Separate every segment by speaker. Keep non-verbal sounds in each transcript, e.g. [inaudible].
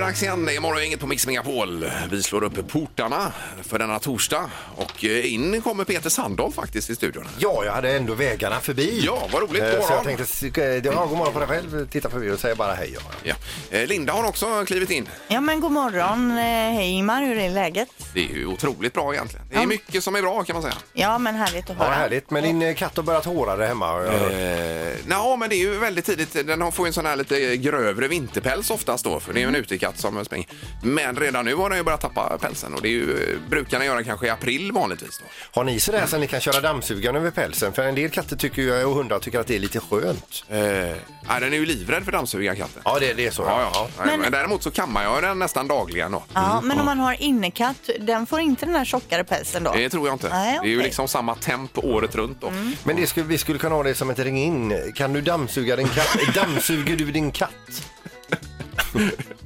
Speaker 1: dags igen. Imorgon är inget på Mix Megapol. Vi slår upp portarna för denna torsdag. Och eh, in kommer Peter Sandahl faktiskt i studion.
Speaker 2: Ja, jag hade ändå vägarna förbi.
Speaker 1: Ja, vad roligt.
Speaker 2: Eh,
Speaker 1: God
Speaker 2: Så jag
Speaker 1: morgon.
Speaker 2: tänkte, eh, ja, god morgon på dig själv. Titta förbi och säga bara hej. Ja.
Speaker 1: Ja. Eh, Linda har också klivit in.
Speaker 3: Ja men god morgon, Eh, hej Ingmar, hur är läget?
Speaker 1: Det är ju otroligt bra egentligen. Det är
Speaker 3: Ja.
Speaker 1: mycket som är bra kan man säga.
Speaker 3: Ja men härligt att
Speaker 2: Ja,
Speaker 3: höra.
Speaker 2: härligt. Men din eh, katt har börjat håra där hemma. har jag hört.
Speaker 1: Eh, Nå, men det är ju väldigt tidigt. Den har- får ju en sån här lite grövre vinterpäls oftast då, för det är ju en utekatt som springer. Men redan nu har den ju börjat tappa pälsen och det är ju, eh, brukar den göra kanske i april vanligtvis. Då.
Speaker 2: Har ni sådär så ni kan köra dammsugaren över pälsen? För en del katter tycker ju, och hundar tycker att det är lite skönt.
Speaker 1: Eh, nej, den är ju livrädd för dammsugarkatten.
Speaker 2: Ja, det, det är så.
Speaker 1: Ja, ja. Nej, Men...
Speaker 3: Men-
Speaker 1: Däremot så kammar jag den nästan dagligen då.
Speaker 3: Ja, men om man har innekatt, den får inte den här tjockare pälsen då?
Speaker 1: Det tror jag inte.
Speaker 3: Nej,
Speaker 1: Det är ju
Speaker 3: okej. Mm.
Speaker 1: liksom samma temp året runt då.
Speaker 2: Men det skulle, vi skulle kunna ha det som ett ring in. Kan du dammsuga din
Speaker 1: [laughs]
Speaker 2: katt? Dammsuger du din katt?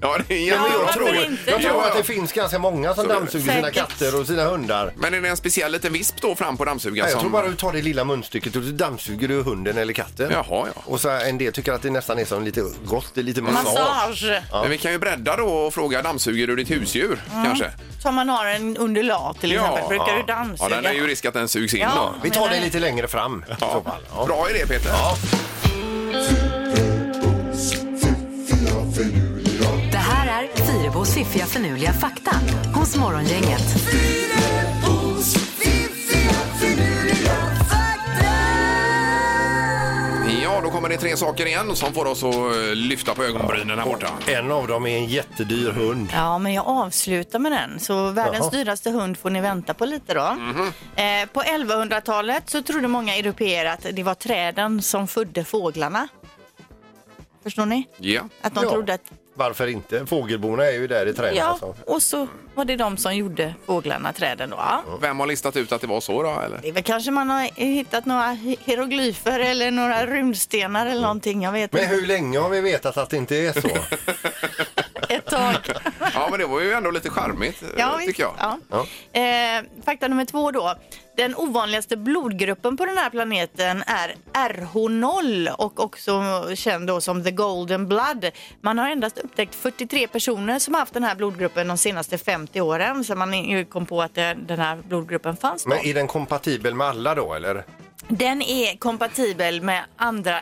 Speaker 1: Ja, det är
Speaker 3: Ja,
Speaker 1: jättebra.
Speaker 3: varför
Speaker 2: jag tror,
Speaker 3: inte?
Speaker 2: jag tror
Speaker 1: Ja,
Speaker 2: att
Speaker 1: ja.
Speaker 2: det finns ganska många som
Speaker 1: Så är det.
Speaker 2: dammsuger sina
Speaker 3: Säkert.
Speaker 2: katter och sina hundar.
Speaker 1: Men är det en speciell liten visp då fram på dammsugaren?
Speaker 2: Nej, jag
Speaker 1: som...
Speaker 2: tror bara du tar det lilla munstycket och så dammsuger du hunden eller katten.
Speaker 1: Jaha, ja.
Speaker 2: Och så en del tycker att det nästan är som lite gott, det är lite massage.
Speaker 3: Massage!
Speaker 1: Men vi kan ju bredda då och fråga dammsuger du ditt husdjur kanske?
Speaker 3: Så om man har en underlag till exempel, brukar du
Speaker 1: Ja,
Speaker 3: dammsuga?
Speaker 1: den är ju risk att den sugs in
Speaker 3: Ja.
Speaker 1: då.
Speaker 2: Vi tar det lite längre fram i så fall. Ja.
Speaker 1: Bra idé Peter. Ja.
Speaker 4: Det här är Fyrabos fiffiga förnuliga fakta hos Morgongänget.
Speaker 1: då kommer det tre saker igen som får oss att eh, lyfta på ögonbrynen här borta.
Speaker 2: En av dem är en jättedyr hund.
Speaker 3: Ja, men jag avslutar med den. Så världens
Speaker 2: Jaha.
Speaker 3: dyraste hund får ni vänta på lite då. Eh, på 1100-talet så trodde många européer att det var träden som födde fåglarna. Förstår ni?
Speaker 1: Ja.
Speaker 3: Att de
Speaker 2: Ja.
Speaker 3: trodde att
Speaker 2: Varför inte? Fågelborna är ju där i träden.
Speaker 3: Ja,
Speaker 2: Alltså.
Speaker 3: och så var det de som gjorde fåglarna träden då. Ja.
Speaker 1: Vem har listat ut att det var så då eller?
Speaker 3: Det är väl kanske man har hittat några hieroglyfer eller några rymdstenar eller någonting. Jag vet
Speaker 2: Men
Speaker 3: inte.
Speaker 2: hur länge har vi vetat att det inte är så?
Speaker 3: Ett tag.
Speaker 1: Ja men det var ju ändå lite charmigt eh,
Speaker 3: visst.
Speaker 1: tycker jag.
Speaker 3: Ja. Eh, fakta nummer två då. Den ovanligaste blodgruppen på den här planeten är RH0 och också känd då som the golden blood. Man har endast upptäckt 43 personer som har haft den här blodgruppen de senaste 50 åren så man ju kom på att det- den här blodgruppen fanns. Då.
Speaker 2: Men är den kompatibel med alla då eller?
Speaker 3: Den är kompatibel med andra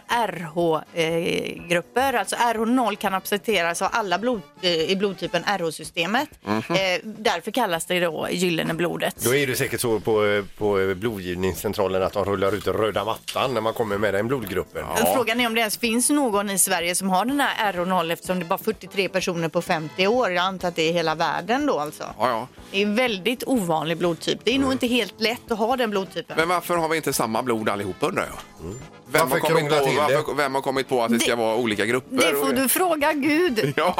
Speaker 3: RH-grupper. Alltså RH0 kan accepteras av alla blod, eh, i blodtypen RH-systemet. Eh, därför kallas det då gyllene blodet.
Speaker 2: Mhm. Då är det säkert så på, på blodgivningscentralen att de rullar ut den röda mattan när man kommer med den blodgruppen.
Speaker 3: Frågan är om det ens finns någon i Sverige som har den här RH0 eftersom det är bara 43 personer på 50 år. Jag antar att det är hela världen då alltså.
Speaker 1: Ja, ja.
Speaker 3: Det är en väldigt ovanlig blodtyp. Det är
Speaker 2: Mm.
Speaker 3: nog inte helt lätt att ha den blodtypen.
Speaker 1: Men varför har vi inte samma blod allihopa undrar jag? Vem,
Speaker 2: Mm. Varför
Speaker 1: har kommit
Speaker 2: krångla
Speaker 1: på,
Speaker 2: till det?
Speaker 1: varför, vem har kommit på att det ska
Speaker 3: Det-
Speaker 1: vara olika grupper?
Speaker 3: det får
Speaker 1: och-
Speaker 3: du fråga
Speaker 2: [laughs]
Speaker 3: Gud.
Speaker 1: [laughs] Ja,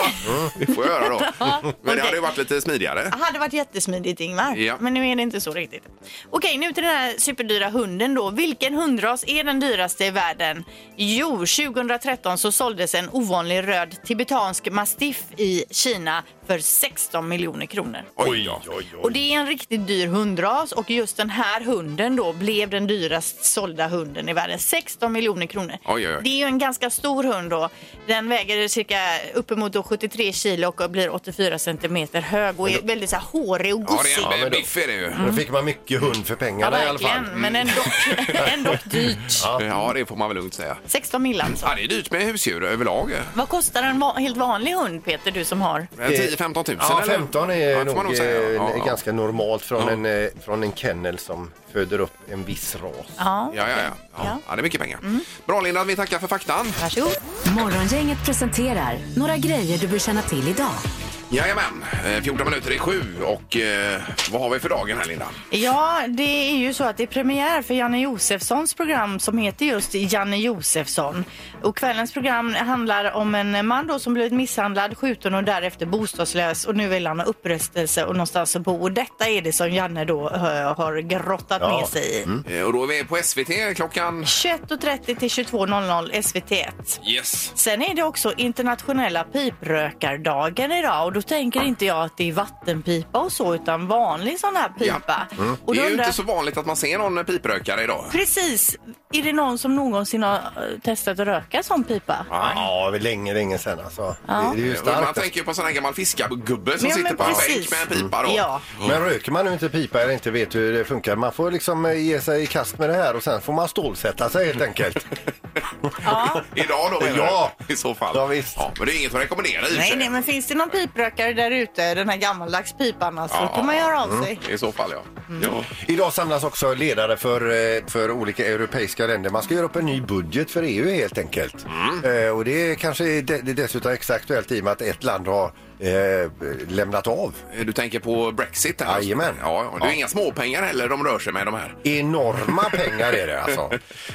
Speaker 1: det får jag göra då.
Speaker 3: Ja,
Speaker 1: Men det
Speaker 3: okej.
Speaker 1: hade ju varit lite smidigare.
Speaker 3: Det hade varit jättesmidigt Ingvar,
Speaker 1: Ja.
Speaker 3: men nu är det inte så riktigt. Okej, nu till den här superdyra hunden då. Vilken hundras är den dyraste i världen? Jo, 2013 så såldes en ovanlig röd tibetansk mastiff i Kina för 16 miljoner kronor.
Speaker 1: Oj, ja.
Speaker 3: Och det är en riktigt dyr hundras och just den här hunden då blev den dyrast sålda hunden i världen. 16 miljoner kronor.
Speaker 1: Oj, oj, oj.
Speaker 3: Det är ju en ganska stor hund då. Den väger cirka uppemot då 73 kilo och blir 84 centimeter hög och är väldigt så här hårig och
Speaker 1: Ja, det
Speaker 3: gosig.
Speaker 1: är en
Speaker 2: men då-
Speaker 1: biff är det ju.
Speaker 2: Då fick man mycket hund för
Speaker 3: Ja,
Speaker 2: pengarna i alla fall.
Speaker 3: verkligen. Men ändå, ändå [laughs] dyrt.
Speaker 1: Mm. Ja, det får man väl lugnt säga.
Speaker 3: 16 mil alltså.
Speaker 1: Ja, det är dyrt med husdjur överlag.
Speaker 3: Vad kostar en va- helt vanlig hund, Peter, du som har?
Speaker 1: Men 10-15 tusen
Speaker 2: Ja,
Speaker 1: eller?
Speaker 2: 15 är
Speaker 1: Ja, det får man
Speaker 2: nog,
Speaker 1: nog säga.
Speaker 2: eh,
Speaker 1: Ja, ja.
Speaker 2: ganska normalt från,
Speaker 1: Ja.
Speaker 2: en, eh, från en kennel som föder upp en viss ras.
Speaker 3: Ja,
Speaker 1: Ja, ja, ja. ja.
Speaker 3: Ja. Mm.
Speaker 1: ja, det är mycket pengar. Bra Linda, vi tackar för faktan.
Speaker 3: varsågod.
Speaker 4: Morgongänget presenterar några grejer du bör känna till idag.
Speaker 1: Jajamän, eh, 14 minuter i sju och eh, vad har vi för dagen här Linda?
Speaker 3: Ja, det är ju så att det är premiär för Janne Josefssons program som heter just Janne Josefsson. Och kvällens program handlar om en man då som blivit misshandlad, skjuten och därefter bostadslös och nu vill han ha upprättelse och någonstans att bo. Och detta är det som Janne då eh, har grottat
Speaker 2: Ja.
Speaker 3: ner sig i.
Speaker 2: Mm.
Speaker 1: Eh, och då är vi på SVT klockan...
Speaker 3: 21.30 till 22.00 SVT1.
Speaker 1: Yes.
Speaker 3: Sen är det också internationella piprökardagen idag och då då tänker inte jag att det är vattenpipa och så utan vanlig sån här pipa. Och
Speaker 1: Mm. Det
Speaker 3: då
Speaker 1: är ju
Speaker 3: undrar
Speaker 1: inte
Speaker 3: jag,
Speaker 1: så vanligt att man ser någon piprökare idag.
Speaker 3: precis, är det någon som någonsin har eh, testat att röka sån pipa?
Speaker 2: Ja, det är länge, länge sedan alltså.
Speaker 3: Ja.
Speaker 2: Det, det är ju
Speaker 1: Och Man
Speaker 2: starkt. alltså.
Speaker 1: tänker ju på en sån här gammal fiskagubbe som
Speaker 3: Ja,
Speaker 1: sitter
Speaker 3: men
Speaker 1: på en
Speaker 3: precis.
Speaker 1: bänk med en pipa då.
Speaker 3: Ja.
Speaker 2: Men röker man nu inte pipa eller inte vet hur det funkar, man får liksom eh, ge sig i kast med det här och sen får man stålsätta sig helt
Speaker 1: [laughs]
Speaker 2: enkelt.
Speaker 3: Ja.
Speaker 1: Idag då menar
Speaker 2: Ja.
Speaker 1: du? I så fall.
Speaker 2: Ja, visst.
Speaker 1: men det är inget att rekommendera i och för
Speaker 3: Nej,
Speaker 1: sig.
Speaker 3: nej, men finns det någon piprökare där ute, den här gammaldags pipan, alltså,
Speaker 1: Ja.
Speaker 3: då kan man göra av sig.
Speaker 1: I så fall ja.
Speaker 3: Mm.
Speaker 1: ja.
Speaker 2: Idag samlas också ledare för, eh, för olika europeiska länder. Man ska göra upp en ny budget för EU helt enkelt.
Speaker 1: Mm.
Speaker 2: Eh, Och det är kanske är de- det är dessutom extra aktuellt i och med att ett land har eh, lämnat av.
Speaker 1: Eh, Du tänker på Brexit här?
Speaker 2: Jajamän.
Speaker 1: Ja, ja. Det är
Speaker 2: Ja.
Speaker 1: inga småpengar heller de rör sig med de här.
Speaker 2: Enorma pengar är det alltså.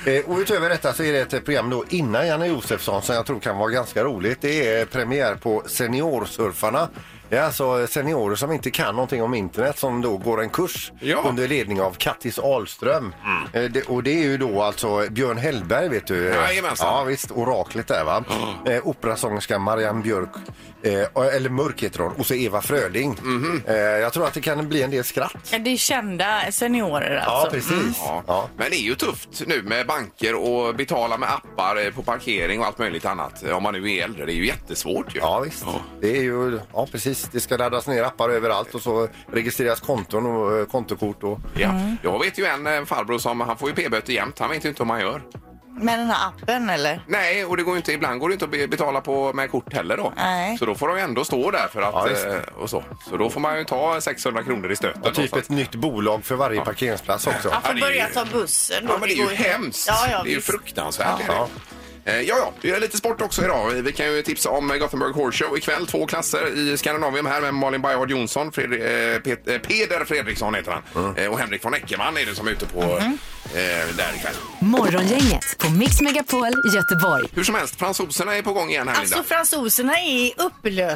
Speaker 2: Eh, och utöver detta så är det ett program då innan Janne Josefsson som jag tror kan vara ganska roligt. Det är premiär på Seniorsurfarna. Det är alltså seniorer som inte kan någonting om internet som då går en kurs
Speaker 1: Ja.
Speaker 2: under ledning av Kattis Ahlström. Eh, det, och det är ju då alltså Björn Hellberg vet du. Eh,
Speaker 1: Jajamensan.
Speaker 2: Ja visst, oraklet där va. Eh, operasångerskan Marianne Björk, eh, eller Mörk heter hon, och så Eva Fröding. eh, jag tror att det kan bli en del skratt.
Speaker 3: Det är kända seniorer alltså.
Speaker 2: Ja precis.
Speaker 1: Ja.
Speaker 2: Ja.
Speaker 1: Men det är ju tufft nu med banker och betala med appar eh, på parkering och allt möjligt annat. eh, Om man nu är äldre. Det är ju jättesvårt ju.
Speaker 2: Ja visst.
Speaker 1: Ja.
Speaker 2: Det är ju, ja precis. Det ska laddas ner appar överallt och så registreras konton och eh, kontokort och...
Speaker 1: Ja.
Speaker 3: Mm.
Speaker 1: Jag vet ju en eh, farbror som han får ju p-böter jämt. Han vet ju inte hur man gör.
Speaker 3: Med den här appen eller?
Speaker 1: Nej, och det går ju inte, ibland går det inte att be- betala på, med kort heller då.
Speaker 3: Nej.
Speaker 1: Så då får de ju ändå stå där för
Speaker 2: Ja,
Speaker 1: att...
Speaker 2: visst.
Speaker 1: eh, och så. så då får man ju ta 600 kronor i stöten.
Speaker 2: Och typ
Speaker 1: någonstans.
Speaker 2: ett nytt bolag för varje parkeringsplats också.
Speaker 3: Man
Speaker 1: Ja,
Speaker 3: får
Speaker 1: det är ju-
Speaker 3: börja ta bussen då.
Speaker 1: Ja, men det är
Speaker 3: går
Speaker 1: ju hemskt.
Speaker 3: Ja, ja,
Speaker 1: det är ju
Speaker 3: visst.
Speaker 1: fruktansvärt.
Speaker 2: Ja.
Speaker 1: är det. Eh, Ja, ja, vi gör lite sport också idag. Vi kan ju tipsa om Gothenburg Horse Show ikväll. Två klasser i Skandinavium här med Malin Bajard Jonsson, Fredri- eh, Pet- eh, Peder Fredriksson heter han.
Speaker 2: Mm.
Speaker 1: Eh, Och Henrik von Eckermann är det som är ute på
Speaker 3: Mm-hmm.
Speaker 1: eh, där ikväll.
Speaker 4: Morgongänget på Mix Megapol Göteborg.
Speaker 1: Hur som helst, fransoserna är på gång igen här
Speaker 3: Alltså
Speaker 1: Linda.
Speaker 3: fransoserna är i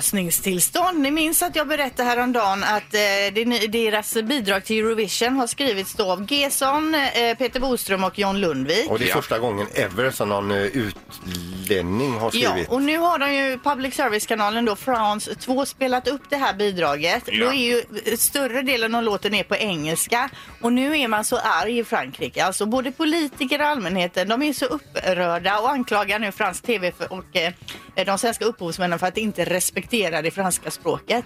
Speaker 3: upplösningstillstånd. Ni minns att jag berättade häromdagen att eh, det ny- deras bidrag till Eurovision har skrivits då av Gesson, eh, Peter Boström och John Lundvik.
Speaker 2: Och det är
Speaker 1: Ja.
Speaker 2: första gången ever som någon eh, utlänning har
Speaker 3: Ja,
Speaker 2: skrivit.
Speaker 3: och nu har de ju public service-kanalen då France 2 spelat upp det här bidraget.
Speaker 1: Ja.
Speaker 3: Då är ju eh, större delen av låten är på engelska och nu är man så arg i Frankrike. Alltså både politiker och allmänheten, de är så upprörda och anklagar nu fransk tv för, och eh, de svenska upphovsmännen för att inte respektera det franska språket.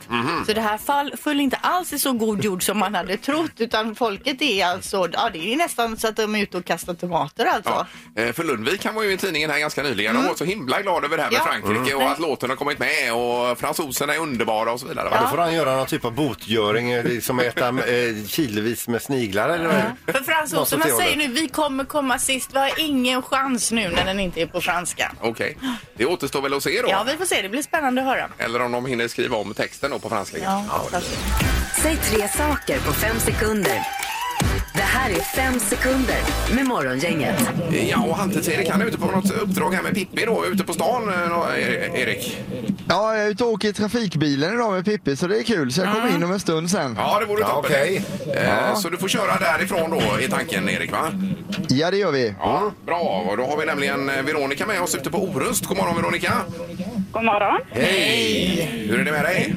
Speaker 3: Så det här fall föll inte alls i så god jord som man hade trott utan folket är alltså, ja det är nästan så att de är ute och kastar tomater alltså.
Speaker 1: Ja. Eh, För Lundvik han var ju i tidningen här ganska nyligen och var så himla glad över det här med
Speaker 3: Mm. Ja. Mm.
Speaker 1: Frankrike och att låten har kommit med och fransoserna är underbara och så vidare. va?
Speaker 2: Ja, då får han göra någon typ av botgöring, eh, liksom äta eh, kilovis med sniglar eller vad är
Speaker 3: För
Speaker 2: det? Något åt
Speaker 3: fransoserna
Speaker 2: det hållet.
Speaker 3: säger nu vi kommer komma sist. Vi har ingen chans nu när den inte är på franska.
Speaker 1: Okej, det återstår väl att se då.
Speaker 3: Ja, vi får se. Det blir spännande att höra.
Speaker 1: Eller om de hinner skriva om texten då på franska.
Speaker 3: Ja,
Speaker 1: det-
Speaker 3: hoppas vi.
Speaker 4: Säg tre saker på fem sekunder. Det här är fem sekunder med Morgongänget.
Speaker 1: ja och Halvtids-Erik han är ute på något uppdrag här med Pippi då, ute på stan, eh, E- Erik.
Speaker 5: Ja, jag är ute och åker i trafikbilen idag med Pippi så det är kul. Så jag kommer in om en stund sen.
Speaker 1: Ja, det vore
Speaker 2: Ja,
Speaker 1: toppen.
Speaker 2: okej.
Speaker 1: Eh, Så du får köra därifrån då, i tanken, Erik, va?
Speaker 5: Ja, det gör vi.
Speaker 1: Ja, bra. Och då har vi nämligen eh, Veronica med oss ute på Orust. God morgon, Veronica.
Speaker 6: God morgon.
Speaker 1: Hej! Hur är det med dig?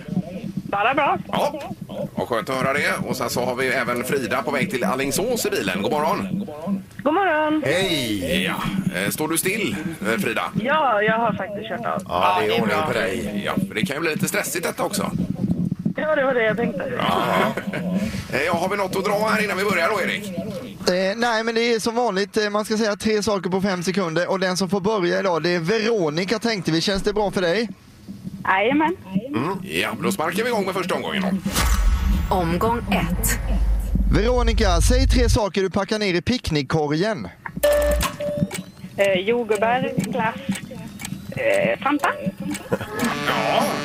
Speaker 6: Bara bra.
Speaker 1: Ja, vad skönt att höra det. Och sen så har vi även Frida på väg till Alingsås i bilen. God morgon!
Speaker 6: God morgon.
Speaker 2: Hej!
Speaker 1: Ja. Eh, Står du still, eh, Frida?
Speaker 6: Ja, jag har faktiskt kört av.
Speaker 2: Ja, det
Speaker 3: det
Speaker 2: är
Speaker 3: är
Speaker 2: ordning
Speaker 3: bra.
Speaker 2: på dig.
Speaker 1: Ja, för det kan ju bli lite stressigt detta också.
Speaker 6: Ja, det var det jag tänkte.
Speaker 1: [laughs] Eh, Ja, har vi något att dra här innan vi börjar då, Erik?
Speaker 5: Eh, nej, men det är som vanligt. Eh, man ska säga tre saker på fem sekunder. Och den som får börja idag, det är Veronica tänkte vi. Känns det bra för dig?
Speaker 6: Jajamän.
Speaker 1: Ja, då sparkar vi igång med första omgången. då.
Speaker 4: Omgång ett.
Speaker 5: Veronica, säg tre saker du packar ner i picknickkorgen.
Speaker 6: Eh, jordgubbar, glass, eh, Fanta.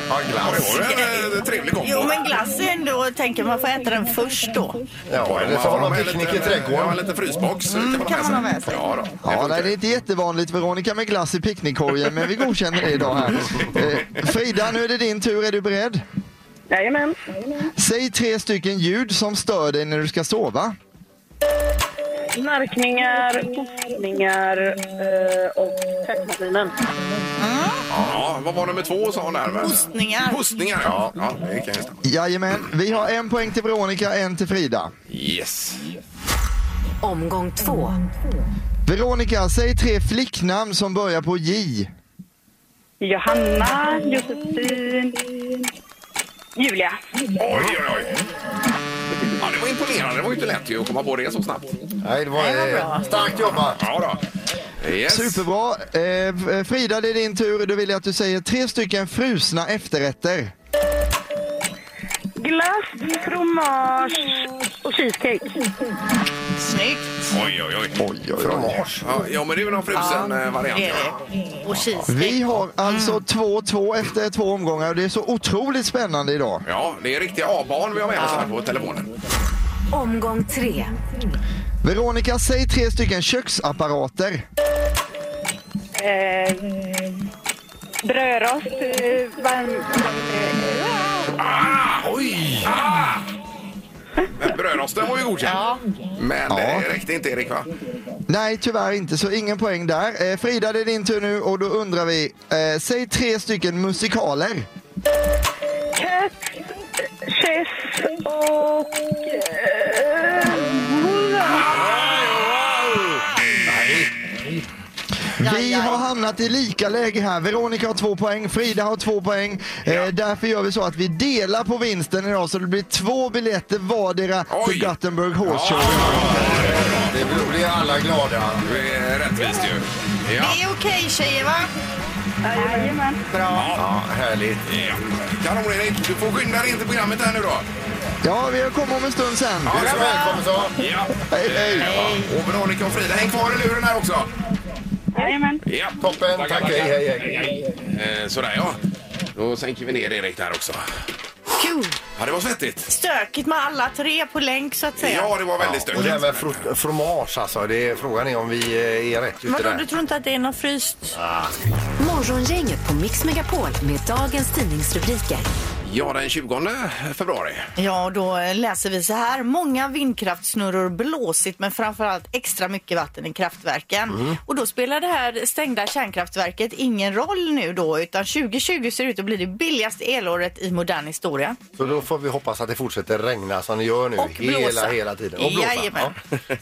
Speaker 1: Ja, glass. Det var ju en eh, trevlig kombo.
Speaker 3: Jo, men glass är ändå, tänker man får äta den först då.
Speaker 2: Ja, eller så har man picknick i
Speaker 1: Ja,
Speaker 2: trädgården.
Speaker 1: lite frysbox kan man,
Speaker 3: kan man
Speaker 1: ha
Speaker 3: ha med sig.
Speaker 1: Ja, då.
Speaker 5: Ja, nej,
Speaker 1: det
Speaker 5: det är
Speaker 1: funkar.
Speaker 5: inte jättevanligt Veronica med glass i picknickkorgen, men vi godkänner det idag här. Eh, Frida, nu är det din tur. Är du beredd?
Speaker 6: Jajamän.
Speaker 5: Säg tre stycken ljud som stör dig när du ska sova.
Speaker 6: Snarkningar, postningar eh, och tvättmaskinen.
Speaker 1: Ja, vad var nummer två sa hon där? va?
Speaker 3: Hostningar.
Speaker 1: Hostningar, ja. ja det kan jag stämma.
Speaker 5: Jajamän, vi har en poäng till Veronica, en till Frida.
Speaker 1: yes.
Speaker 4: Omgång två.
Speaker 5: Veronica, säg tre flicknamn som börjar på J.
Speaker 6: Johanna, Josefin, Julia.
Speaker 1: Oj, oj, oj. Ja, det var imponerande. Det var ju inte lätt ju att komma på det så snabbt.
Speaker 2: Nej, det var,
Speaker 3: Det var
Speaker 2: eh,
Speaker 3: bra.
Speaker 2: starkt jobbat.
Speaker 1: Ja då. Yes.
Speaker 5: Superbra. Eh, Frida, det är din tur. Då vill jag att du säger tre stycken frusna efterrätter.
Speaker 6: Glass, fromage och cheesecake.
Speaker 3: Snyggt.
Speaker 1: Oj, oj, oj. oj, oj, Ja, ja, men det är väl någon frusen eh,
Speaker 3: Det
Speaker 1: variant.
Speaker 3: är
Speaker 1: Ja.
Speaker 3: det. Och
Speaker 5: Vi
Speaker 3: cheesecake.
Speaker 5: har alltså 2-2 efter två omgångar och det är så otroligt spännande idag.
Speaker 1: ja, det är riktiga A-barn vi har med oss här på telefonen.
Speaker 4: Omgång tre.
Speaker 5: Veronica, säg tre stycken köksapparater.
Speaker 6: Eh, brödrost, eh, varm... eh,
Speaker 1: Ah, oj! Ah! Men brödrosten var ju godkänd.
Speaker 3: Ja.
Speaker 1: Men
Speaker 5: Ja.
Speaker 1: det räckte inte, Erik, va?
Speaker 5: Nej, tyvärr inte, så ingen poäng där. Eh, Frida, det är din tur nu och då undrar vi, eh, säg tre stycken musikaler.
Speaker 6: Kött, chess och... Eh,
Speaker 5: Vi har hamnat i lika läge här. Veronica har två poäng, Frida har två poäng. Eh, därför gör vi så att vi delar på vinsten idag så det blir två biljetter vardera
Speaker 1: Oj.
Speaker 5: till Gothenburg Horse Show.
Speaker 2: Det blir alla glada.
Speaker 1: Det är rättvist ju. Ja.
Speaker 3: Det är okej tjejer va?
Speaker 6: Jajamän.
Speaker 2: Ja, härligt.
Speaker 1: Ja. Kanon, Erik. Du får skynda dig in till programmet här nu då.
Speaker 5: Ja, vi kommer om en stund sen.
Speaker 2: Du är så välkommen så.
Speaker 1: Ja.
Speaker 5: Hej, hej.
Speaker 1: Ja. Och Veronica och Frida, häng kvar i luren här också.
Speaker 6: Jajamän.
Speaker 1: Ja.
Speaker 2: Toppen, tack. Hej, hej, hej.
Speaker 1: Eh, sådär ja. Då sänker vi ner Erik där också.
Speaker 3: Kul.
Speaker 1: Ja, det var svettigt.
Speaker 3: Stökigt med alla tre på länk så att säga.
Speaker 1: Ja, det var väldigt
Speaker 2: Och det här
Speaker 1: stökigt.
Speaker 2: med fro- fromage alltså, det är, frågan är om vi eh, är rätt ute
Speaker 3: Vadå, du
Speaker 2: där.
Speaker 3: tror inte att det är något fryst?
Speaker 4: Morgongänget på Mix Megapol med dagens tidningsrubriker.
Speaker 1: Ja, den 20 februari.
Speaker 3: Ja, och då eh, läser vi så här. Många vindkraftsnurror blåsigt men framförallt extra mycket vatten i kraftverken.
Speaker 2: Mm.
Speaker 3: Och då spelar det här stängda kärnkraftverket ingen roll nu då utan 2020 ser ut att bli det billigaste elåret i modern historia.
Speaker 2: Så då får vi hoppas att det fortsätter regna som det gör nu
Speaker 3: Och blåsa.
Speaker 2: hela, hela tiden. Och blåsa.
Speaker 3: Jajamän.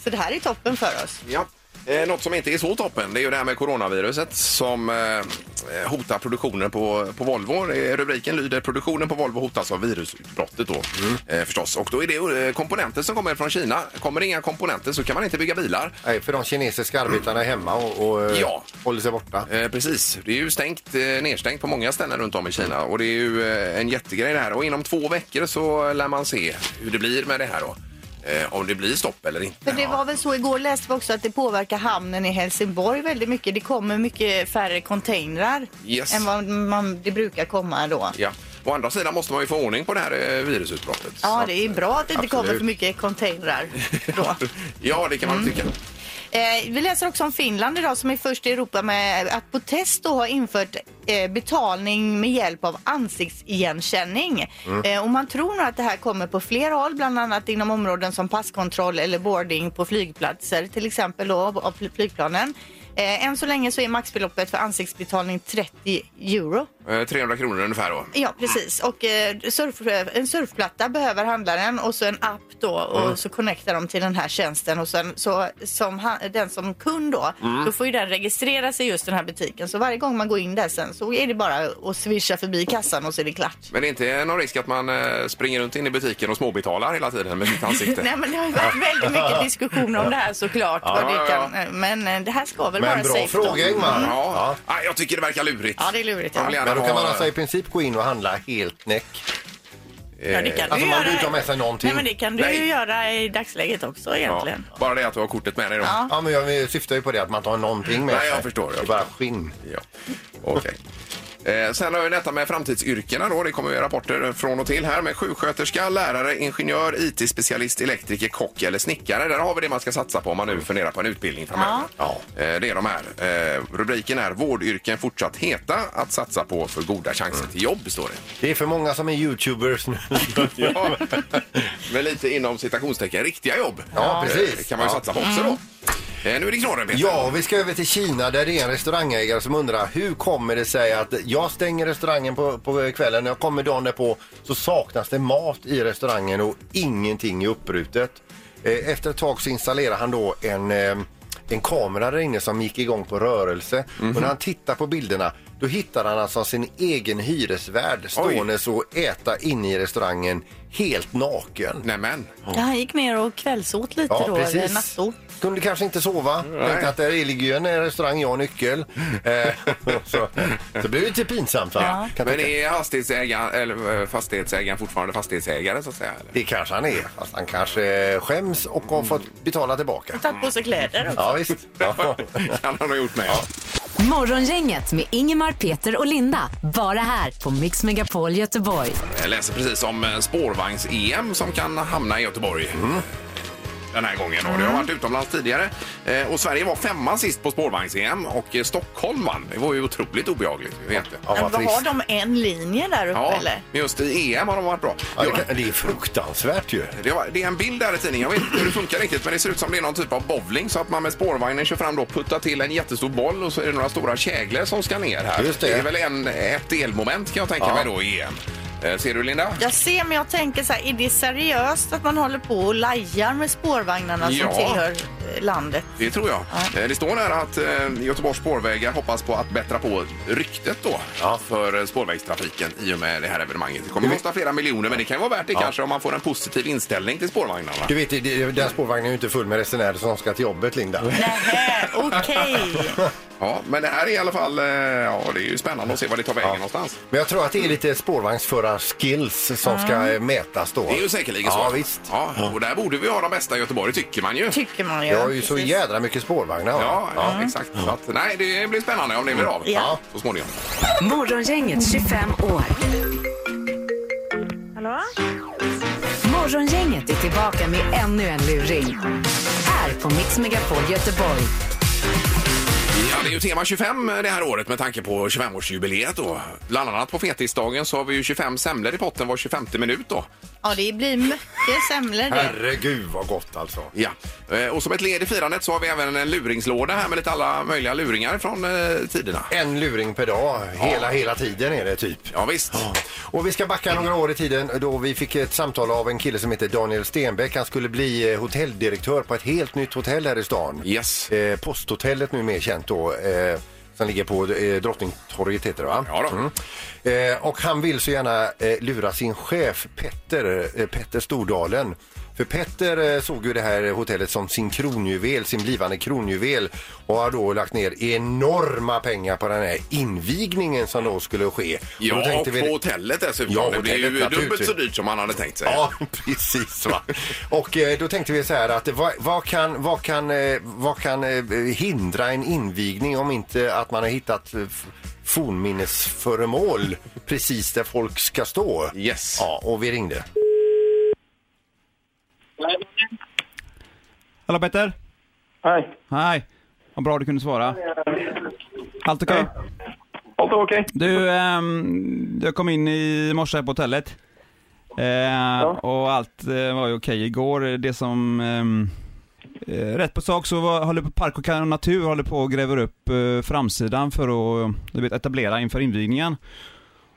Speaker 3: Så det här är toppen för
Speaker 2: [laughs]
Speaker 3: oss.
Speaker 1: Ja. Eh, något som inte är så toppen det är ju det här med coronaviruset som eh, hotar produktionen på, på Volvo. Eh, Rubriken lyder produktionen på Volvo hotas av virusutbrottet då eh, förstås. Och då är det eh, komponenter som kommer från Kina. Kommer det inga komponenter så kan man inte bygga bilar.
Speaker 2: Nej, för de kinesiska arbetarna är hemma och, och eh,
Speaker 1: Ja.
Speaker 2: håller sig borta.
Speaker 1: Eh, precis. Det är ju stängt, eh, nedstängt på många ställen runt om i Kina och det är ju eh, en jättegrej det här. Och inom två veckor så lär man se hur det blir med det här då. Eh, om det blir stopp eller inte.
Speaker 3: För det var väl så igår läste vi också att det påverkar hamnen i Helsingborg väldigt mycket. Det kommer mycket färre containrar
Speaker 1: Yes.
Speaker 3: än vad man, det brukar komma då.
Speaker 1: Ja. Å andra sidan måste man ju få ordning på det här eh, virusutbrottet. Så
Speaker 3: Ja,
Speaker 1: att-
Speaker 3: det är bra att det inte kommer
Speaker 1: absolut.
Speaker 3: för mycket containrar
Speaker 1: [laughs]
Speaker 3: då.
Speaker 1: Ja, det kan man tycka.
Speaker 3: Eh, vi läser också om Finland idag som är först i Europa med att på test då har infört eh, betalning med hjälp av ansiktsigenkänning.
Speaker 1: Mm.
Speaker 3: Eh, och man tror nog att det här kommer på fler håll, bland annat inom områden som passkontroll eller boarding på flygplatser till exempel då, av av fly- flygplanen. Eh, än så länge så är maxbeloppet för ansiktsbetalning 30 euro.
Speaker 1: Eh, 300 kronor ungefär då.
Speaker 3: Ja, precis. Och eh, surf, en surfplatta behöver handlaren och så en app då och
Speaker 2: Mm.
Speaker 3: så connectar de till den här tjänsten och sen så som han, den som kund då,
Speaker 2: Mm.
Speaker 3: då får ju den registrera sig i just den här butiken. Så varje gång man går in där sen så är det bara att swisha förbi kassan och så är det klart.
Speaker 1: Men det är inte någon risk att man eh, springer runt in i butiken och småbetalar hela tiden med sitt
Speaker 3: [laughs]
Speaker 1: ansikte?
Speaker 3: Nej men det har ju varit väldigt mycket diskussion om det här såklart. vad
Speaker 1: ja,
Speaker 3: det
Speaker 1: ja.
Speaker 3: kan, eh, Men eh, det här ska väl
Speaker 2: Men
Speaker 3: vara
Speaker 2: bra
Speaker 3: safe
Speaker 2: fråga
Speaker 3: då.
Speaker 2: Ingmar.
Speaker 1: Ja. Ah, jag tycker det verkar lurigt.
Speaker 3: Ja, det är lurigt, ja.
Speaker 1: Man vill gärna
Speaker 2: Men då kan
Speaker 1: ha- eh,
Speaker 2: man alltså i princip gå in och handla helt näck.
Speaker 3: Ja, det kan du
Speaker 2: Alltså man
Speaker 3: göra.
Speaker 2: behöver inte ha med sig någonting.
Speaker 3: Nej men det kan du
Speaker 1: Nej.
Speaker 3: ju göra i dagsläget också
Speaker 1: Ja.
Speaker 3: egentligen.
Speaker 1: Bara det att du har kortet med dig då.
Speaker 3: Ja.
Speaker 2: Ja, men jag syftar ju på det att man tar någonting med
Speaker 1: Nej, jag
Speaker 2: sig.
Speaker 1: förstår, jag
Speaker 2: Det är bara skinn.
Speaker 1: Ja. Okej. Eh, sen har vi detta med framtidsyrkena då. Det kommer ju rapporter från och till här med sjuksköterska, lärare, ingenjör, IT-specialist, elektriker, kock eller snickare. Där har vi det man ska satsa på om man nu funderar på en utbildning framöver. Ja. Eh, det är de här. Eh, rubriken är Vårdyrken fortsatt heta att satsa på för goda chanser till jobb, står det.
Speaker 2: Det är för många som är youtubers nu. [laughs]
Speaker 1: Ja, men lite inom citationstecken riktiga jobb.
Speaker 2: Ja, precis.
Speaker 1: Det kan man
Speaker 2: Ja.
Speaker 1: ju
Speaker 2: Mm.
Speaker 1: satsa på också då. Eh, Nu är det knorren, Peter.
Speaker 2: Ja, vi ska över till Kina där det är en restaurangägare som undrar hur kommer det sig att jag stänger restaurangen på, på kvällen, när jag kommer dagen därpå så saknas det mat i restaurangen och ingenting är upprutet. Eh, Efter ett tag så installerar han då en, eh, en kamera där inne som gick igång på rörelse och när han tittar på bilderna då hittar han alltså sin egen hyresvärd stående och äta inne i restaurangen helt naken.
Speaker 1: Nämen.
Speaker 3: Ja, han gick ner och kvällsåt lite då, eller nattsåt.
Speaker 2: Kunde kanske inte sova. Tänkte att där ligger ju en eh, restaurang, jag har nyckel. Eh, [laughs] så, så blev det lite pinsamt. Va?
Speaker 3: Ja.
Speaker 2: Kan
Speaker 1: Men
Speaker 2: tänka.
Speaker 1: är hastighetsägaren, eller eh, fastighetsägaren fortfarande fastighetsägare så att säga? Eller?
Speaker 2: Det kanske han är. Fast han kanske eh, skäms och har fått betala tillbaka.
Speaker 3: Tagit på sig kläder också.
Speaker 2: Ja, visst. [laughs] Ja.
Speaker 1: [laughs] kan han ha gjort med. Ja.
Speaker 4: Morgongänget med Ingemar, Peter och Linda. Bara här på Mix Megapol Göteborg.
Speaker 1: Jag läser precis om eh, spårvagns-EM som kan hamna i Göteborg. Den här gången. Och det har varit utomlands tidigare. Eh, Och Sverige var femma sist på spårvagns-EM och eh, Stockholm vann. Det var ju otroligt obehagligt. Vet du.
Speaker 2: Ja,
Speaker 3: Men
Speaker 2: vad
Speaker 3: vad har
Speaker 2: trist.
Speaker 3: de en linje där uppe
Speaker 1: Ja,
Speaker 3: eller?
Speaker 1: men just i EM har de varit bra.
Speaker 2: Ja, det, kan, det är fruktansvärt ju.
Speaker 1: Det, var, det är en bild där i tidningen. Jag vet inte hur det funkar riktigt men det ser ut som det är någon typ av bowling så att man med spårvagnen kör fram då puttar till en jättestor boll och så är det några stora käglor som ska ner här.
Speaker 2: Just det.
Speaker 1: är väl en, ett delmoment kan jag tänka
Speaker 2: Ja.
Speaker 1: mig då i EM. Eh, Ser du Linda?
Speaker 3: Jag ser men jag tänker så här, är det seriöst att man håller på och lajar med spårvagnarna
Speaker 1: Ja.
Speaker 3: som tillhör eh, landet?
Speaker 1: Det tror jag. Eh, Det står här att eh, Göteborgs spårvägar hoppas på att bättra på ryktet då
Speaker 2: Ja.
Speaker 1: för eh, spårvägstrafiken i och med det här evenemanget. Det kommer
Speaker 2: Mm.
Speaker 1: att kosta flera miljoner men det kan ju vara värt det kanske om man får en positiv inställning till spårvagnarna.
Speaker 2: Du vet, det- det- den spårvagnen är ju inte full med resenärer som ska till jobbet, Linda.
Speaker 3: Nähä, okej.
Speaker 1: Ja, men det här är i alla fall, eh, ja det är ju spännande att se vad det tar vägen någonstans.
Speaker 2: Men jag tror att det är lite spårvagnsförar-skills som
Speaker 3: Mm.
Speaker 2: ska eh, mätas då.
Speaker 1: Det är ju säkerligen
Speaker 2: Ja,
Speaker 1: så.
Speaker 2: visst.
Speaker 1: Ja, och där borde vi ha de bästa i Göteborg tycker man ju.
Speaker 3: Tycker man ju.
Speaker 2: Jag har ju så
Speaker 3: Precis.
Speaker 2: jädra mycket spårvagnar. va?
Speaker 1: Ja, ja exakt. Så att, nej, det blir spännande om det
Speaker 2: Mm.
Speaker 1: blir av.
Speaker 3: Ja.
Speaker 1: Så småningom.
Speaker 4: Morgongänget 25 år.
Speaker 6: Hallå?
Speaker 4: Morgongänget är tillbaka med ännu en luring. Här på Mix Megapol Göteborg.
Speaker 1: Ja, det är ju tema 25 det här året med tanke på 25-årsjubileet då. Bland annat på fetisdagen så har vi ju 25 semlor i potten var 25 minut då.
Speaker 3: Ja, det blir mycket semlor det.
Speaker 2: Herregud vad gott alltså.
Speaker 1: Ja. Eh, Och som ett led i firandet så har vi även en luringslåda här med lite alla möjliga luringar från eh, tiderna.
Speaker 2: En luring per dag, hela, hela tiden är det typ.
Speaker 1: Ja, visst.
Speaker 2: Och vi ska backa några år i tiden då vi fick ett samtal av en kille som heter Daniel Stenbeck. Han skulle bli eh, hotelldirektör på ett helt nytt hotell här i stan.
Speaker 1: Yes.
Speaker 2: Eh, Posthotellet nu mer känt då. Eh, som ligger på eh, Drottningtorget heter det va?
Speaker 1: Ja då.
Speaker 2: Mm. Eh, och han vill så gärna eh, lura sin chef Petter, eh, Petter Stordalen. För Petter eh, såg ju det här hotellet som sin kronjuvel, sin blivande kronjuvel och har då lagt ner enorma pengar på den här invigningen som då skulle ske.
Speaker 1: Ja,
Speaker 2: då
Speaker 1: och på
Speaker 2: tänkte vi-
Speaker 1: hotellet dessutom.
Speaker 2: Ja,
Speaker 1: det blir ju
Speaker 2: hotellet,
Speaker 1: dubbelt så
Speaker 2: naturligtvis.
Speaker 1: dyrt som man hade tänkt sig.
Speaker 2: Ja, [laughs] precis. Va? Och eh, då tänkte vi så här att eh, vad, vad kan, vad kan, eh, vad kan eh, hindra en invigning om inte att man har hittat eh, f- fornminnesföremål precis där folk ska stå?
Speaker 1: Yes.
Speaker 2: Ja, och vi ringde.
Speaker 7: Hallå Petter!
Speaker 8: Nej,
Speaker 7: Hej! Vad bra du kunde svara. Allt okej?
Speaker 8: allt är okej.
Speaker 7: Du, ehm, jag kom in i morse här på hotellet. Eh, Och allt eh, var ju okej igår. Det som... ehm, eh, rätt på sak så var, håller på Park och Kan- Natur håller på och gräver upp eh, framsidan för att du vet, etablera inför invigningen.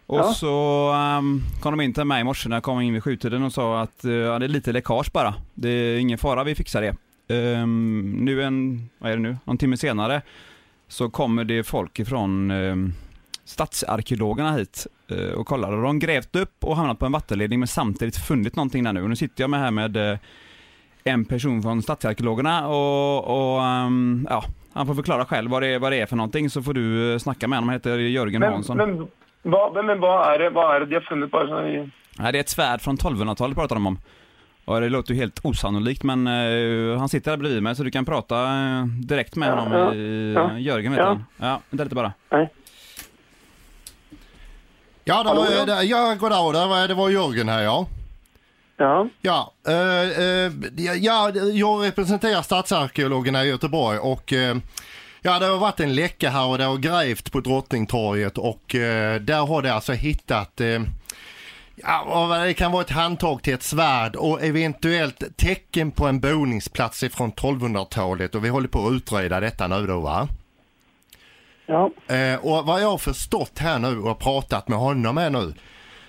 Speaker 7: Och
Speaker 8: Ja.
Speaker 7: så ehm, kom de in till mig i morse när jag kom in vid sjutiden och sa att eh, ja, det är lite läckage bara. Det är ingen fara, vi fixar det. Ehm, nu en, vad är det nu, någon timme senare så kommer det folk ifrån ehm, stadsarkeologerna hit eh, och kollar. Och de grävt upp och hamnat på en vattenledning men samtidigt funnit någonting där nu. Och nu sitter jag med här med eh, en person från stadsarkeologerna och, och ehm, ja, han får förklara själv vad det, är, vad det är för någonting så får du eh, snacka med honom. Han heter Jörgen
Speaker 8: Men,
Speaker 7: Hansson.
Speaker 8: men, vad, men vad, är det, vad är det de har funnit bara så i...
Speaker 7: Nej, det är ett svärd från 1200-talet pratar de om. Och det låter ju helt osannolikt men eh, han sitter här bredvid mig så du kan prata eh, direkt med
Speaker 8: Ja,
Speaker 7: honom.
Speaker 8: ja,
Speaker 7: i,
Speaker 8: ja,
Speaker 7: Jörgen vet
Speaker 8: ja.
Speaker 7: han. Ja, vänta lite bara.
Speaker 8: Nej.
Speaker 2: Ja, det
Speaker 8: Hallå,
Speaker 2: var,
Speaker 8: ja.
Speaker 2: det, ja goddag, det var, det var Jörgen här ja.
Speaker 8: Ja.
Speaker 2: Ja, eh, eh, ja, ja, jag representerar stadsarkeologerna i Göteborg och eh, ja, det har varit en läcka här och det har grävt på Drottningtorget och eh, där har de alltså hittat eh, ja, vad det kan vara ett handtag till ett svärd och eventuellt tecken på en boningsplats ifrån 1200-talet och vi håller på att utreda detta nu då va?
Speaker 8: Ja.
Speaker 2: Eh, och vad jag har förstått här nu och pratat med honom här nu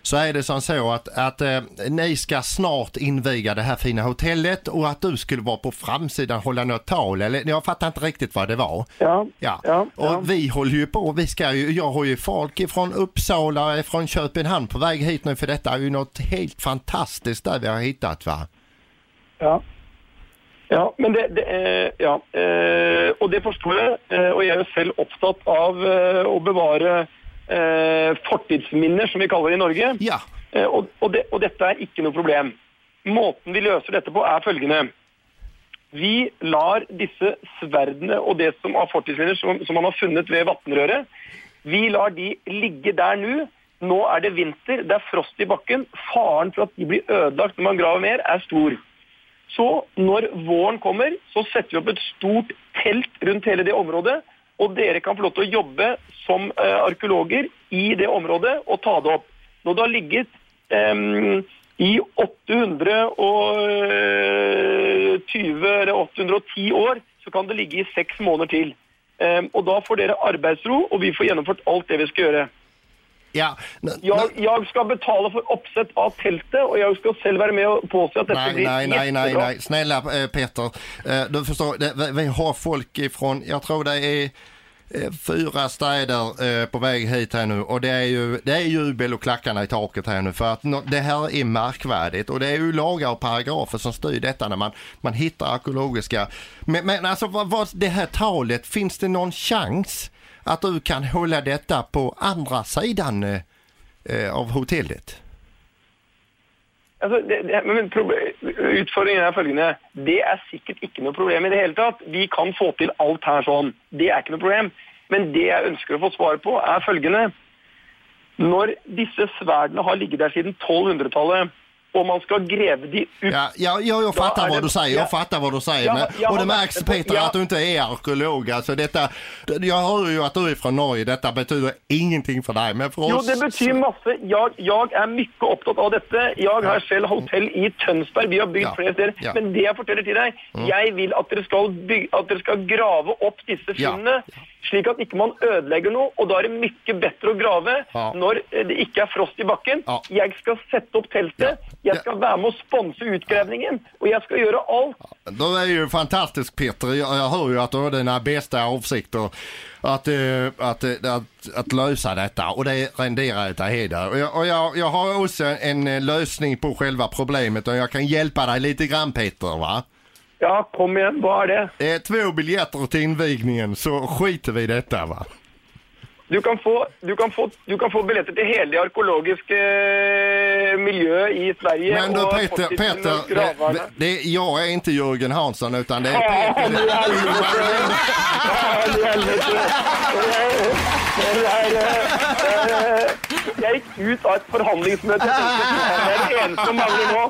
Speaker 2: så är det som så att, att eh, ni ska snart inviga det här fina hotellet och att du skulle vara på framsidan och hålla något tal eller jag fattar inte riktigt vad det var.
Speaker 8: Ja.
Speaker 2: Ja,
Speaker 8: Ja.
Speaker 2: och vi håller ju på. Vi ska ju, jag har ju folk ifrån Uppsala, från Köpenhamn på väg hit nu för detta är ju något helt fantastiskt där vi har hittat va?
Speaker 8: Ja. Ja, men det, det eh, ja. Eh, og det forstår jeg. Eh, og jeg er jo selv opptatt av eh, å bevare eh, fortidsminner, som vi kaller det i Norge.
Speaker 2: Ja,
Speaker 8: Eh, og, og, det, og dette er ikke noe problem. Måten vi løser dette på er følgende. Vi lar disse sverdene og det som av fortidsminner som, som man har funnet ved vattenrøret, vi lar de ligge der nå. Nå er det vinter, det er frost i bakken. Faren for at de blir ødelagt når man graver mer, er stor. Så når våren kommer, så setter vi opp et stort telt rundt hele det området. Og dere kan få lov til å jobbe som eh, arkeologer i det området og ta det opp. Når det har ligget em, i 820 eller 810 år, så kan det ligge i seks måneder til. Em, og da får dere arbeidsro, og vi får gjennomført alt det vi skal gjøre.
Speaker 2: ja. N-
Speaker 8: Jeg, jeg skal betale for oppsett av teltet, og jeg skal selv være med og påse at dette
Speaker 2: Nej,
Speaker 8: blir
Speaker 2: nej, nej, nej,
Speaker 8: jättebra.
Speaker 2: nej. Snälla eh, Peter, eh, du förstår, det, vi- vi har folk ifrån, jag tror det är eh, fyra städer eh, på väg hit här nu och det är ju, det är jubel och klackarna i taket här nu för att nå- det här är märkvärdigt och det är ju lagar och paragrafer som styr detta när man, man hittar arkeologiska. Men, men alltså vad, vad, det här talet, finns det någon chans att du kan hålla detta på andra sidan eh, eh, av hotellet?
Speaker 8: Altså, Alltså, det, det, men proble- utfordringen er følgende. Det er sikkert ikke noe problem i det hele tatt. Vi kan få til alt her sånn. Det er ikke noe problem. Men det jeg ønsker å få svar på, er følgende. Når disse sverdene har ligget der siden 1200-tallet, og man skal greve de ut
Speaker 2: Ja, ja, ja, jag
Speaker 8: Ja,
Speaker 2: fattar
Speaker 8: är
Speaker 2: vad
Speaker 8: det-
Speaker 2: du säger.
Speaker 8: ja.
Speaker 2: Jag fattar vad du säger.
Speaker 8: Jag-
Speaker 2: men,
Speaker 8: jag
Speaker 2: och det
Speaker 8: har
Speaker 2: märks
Speaker 8: varit på-
Speaker 2: Peter
Speaker 8: ja.
Speaker 2: att du inte är arkeolog. Alltså, detta, jag hör ju att du är från Norge. Detta betyder ingenting för dig. Men för
Speaker 8: Jo,
Speaker 2: oss...
Speaker 8: det betyr masse. Jeg, jeg er mye opptatt av dette. Jeg har selv hotell i Tønsberg. Vi har bygd
Speaker 2: Ja.
Speaker 8: flere steder.
Speaker 2: Ja. Mm.
Speaker 8: Men det jeg forteller til deg, jeg vil at dere skal, bygge, at dere skal grave opp disse
Speaker 2: Ja.
Speaker 8: funnene, slik at ikke man ødelegger noe. Og da er det mye bedre å grave
Speaker 2: Ja.
Speaker 8: når eh, det ikke er frost i bakken.
Speaker 2: Ja.
Speaker 8: Jeg skal sette opp teltet.
Speaker 2: Ja.
Speaker 8: Jeg skal være med å sponse utgravningen. Og jeg skal gjøre alt.
Speaker 2: Du är ju fantastisk Peter. Jag, jag hör ju att du har dina bästa avsikter att, eh, att, eh, att, att lösa detta och det renderar ett heder. Och, jag, och jag, jag har också en eh, lösning på själva problemet och jag kan hjälpa dig lite grann Peter. Va?
Speaker 8: Ja, kom igjen. Hva er det?
Speaker 2: Eh, två biljetter till invigningen så skiter vi i detta va.
Speaker 8: Du kan, få, du, kan få, du kan få billetter till hela det arkeologiska eh, miljö i Sverige.
Speaker 2: Men du
Speaker 8: och
Speaker 2: Peter,
Speaker 8: fortsätter med
Speaker 2: Peter
Speaker 8: gravarna.
Speaker 2: det, det, jag är inte Jörgen Hansson utan det är
Speaker 8: Ja,
Speaker 2: Peter.
Speaker 8: men [laughs] i helvete! Ja, men i helvete! Det er, det er, eh, Jeg gikk ut av et forhandlingsmøte. og tenkte at Det er det eneste som mangler nå,